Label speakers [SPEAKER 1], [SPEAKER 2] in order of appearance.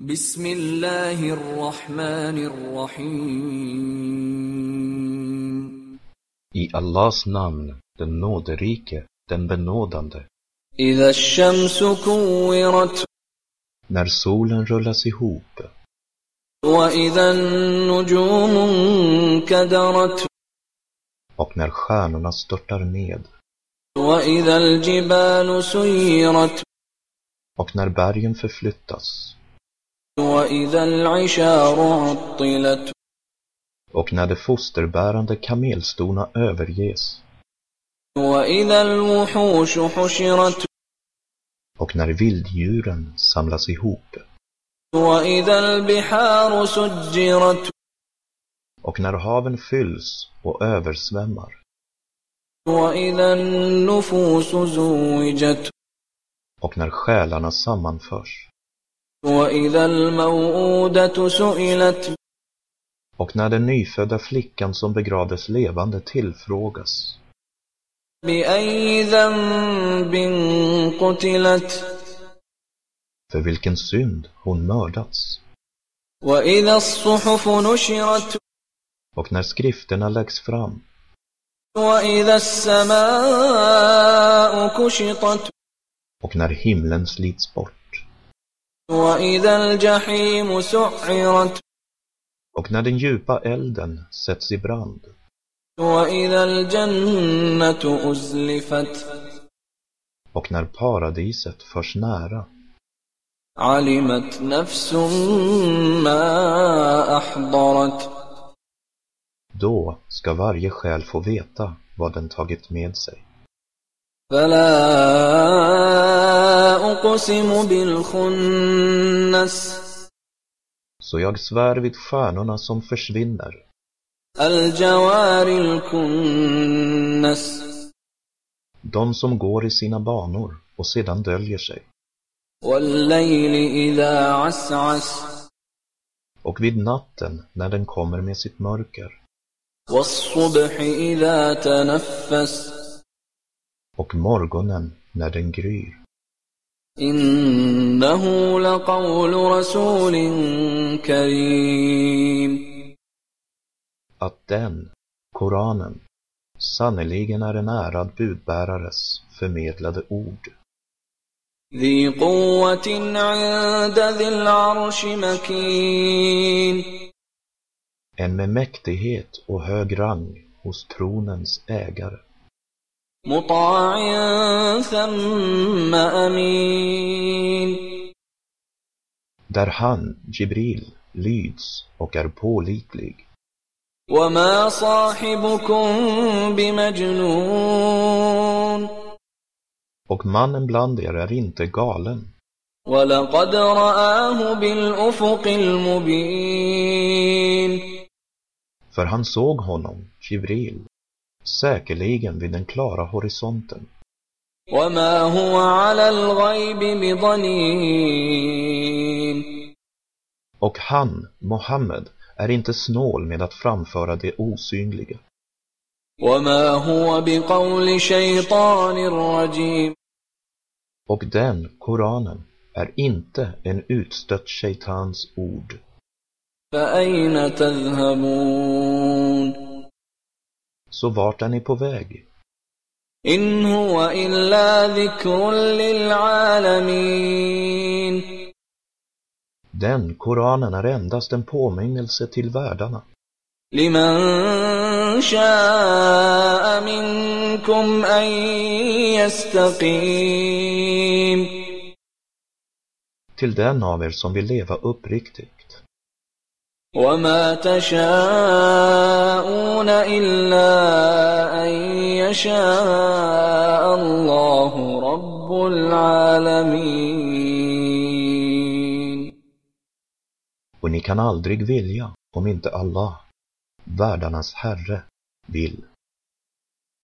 [SPEAKER 1] بسم الله الرحمن الرحيم
[SPEAKER 2] I Allahs namn, den nåderike, den benådande.
[SPEAKER 1] إذا الشمس كورت
[SPEAKER 2] När solen rullas ihop
[SPEAKER 1] وإذا النجوم انكدرت
[SPEAKER 2] och när stjärnorna störtar ned
[SPEAKER 1] وإذا الجبال سيرت
[SPEAKER 2] och när bergen förflyttas
[SPEAKER 1] وإذا العشار عطلت
[SPEAKER 2] och när de fosterbärande kamelstorna överges
[SPEAKER 1] وإذا الوحوش حشرت
[SPEAKER 2] och när vilddjuren samlas ihop
[SPEAKER 1] وإذا البحار سجرت
[SPEAKER 2] och när haven fylls och översvämmar
[SPEAKER 1] وإذا النفوس زوجت
[SPEAKER 2] och när själarna sammanförs
[SPEAKER 1] وإذا الموءودة سئلت
[SPEAKER 2] och när den nyfödda flickan som begravdes levande tillfrågas
[SPEAKER 1] بأي ذنب قتلت
[SPEAKER 2] för vilken synd hon mördats
[SPEAKER 1] وإذا الصحف نشرت
[SPEAKER 2] och när skrifterna läggs fram
[SPEAKER 1] وإذا السماء كشطت
[SPEAKER 2] och när himlen slits bort
[SPEAKER 1] وإذا الجحيم سعرت
[SPEAKER 2] och när den djupa elden sätts i brand
[SPEAKER 1] وإذا الجنة أزلفت
[SPEAKER 2] och när paradiset förs nära
[SPEAKER 1] علمت نفس ما أحضرت
[SPEAKER 2] då ska varje själ få veta vad den tagit med sig.
[SPEAKER 1] فلا أقسم بالخنس
[SPEAKER 2] Så jag svär vid stjärnorna som försvinner,
[SPEAKER 1] الجوار الكنس
[SPEAKER 2] de som går i sina banor och sedan döljer sig,
[SPEAKER 1] والليل إذا عسعس
[SPEAKER 2] och vid natten när den kommer med sitt mörker,
[SPEAKER 1] والصبح إذا تنفس
[SPEAKER 2] och morgonen när den gryr.
[SPEAKER 1] إنه لقول رسول كريم
[SPEAKER 2] Att den, Koranen, sannerligen är en ärad budbärares förmedlade ord,
[SPEAKER 1] ذي قوة عند ذي العرش مكين
[SPEAKER 2] en med mäktighet och hög rang hos tronens ägare,
[SPEAKER 1] مطاع ثم أمين
[SPEAKER 2] där han, Jibril, lyds och är pålitlig.
[SPEAKER 1] وما صاحبكم بمجنون
[SPEAKER 2] och mannen bland er är inte galen.
[SPEAKER 1] ولقد رآه بالأفق المبين
[SPEAKER 2] För han såg honom, Jibril, säkerligen vid den klara horisonten,
[SPEAKER 1] وما هو على الغيب بضنين
[SPEAKER 2] och han, Mohammed, är inte snål med att framföra det osynliga,
[SPEAKER 1] وما هو بقول شيطان رجيم
[SPEAKER 2] och den, Koranen, är inte en utstött shaitans ord.
[SPEAKER 1] فأين تذهبون
[SPEAKER 2] Så vart är ni på väg?
[SPEAKER 1] إن هو إلا ذكر للعالمين
[SPEAKER 2] Den, Koranen, är endast en påminnelse till världarna,
[SPEAKER 1] لمن شاء منكم أن يستقيم
[SPEAKER 2] till den av er som vill leva uppriktigt.
[SPEAKER 1] وما تشاءون إلا أن يشاء الله رب العالمين
[SPEAKER 2] och ni kan aldrig vilja om inte Allah, världarnas herre, vill.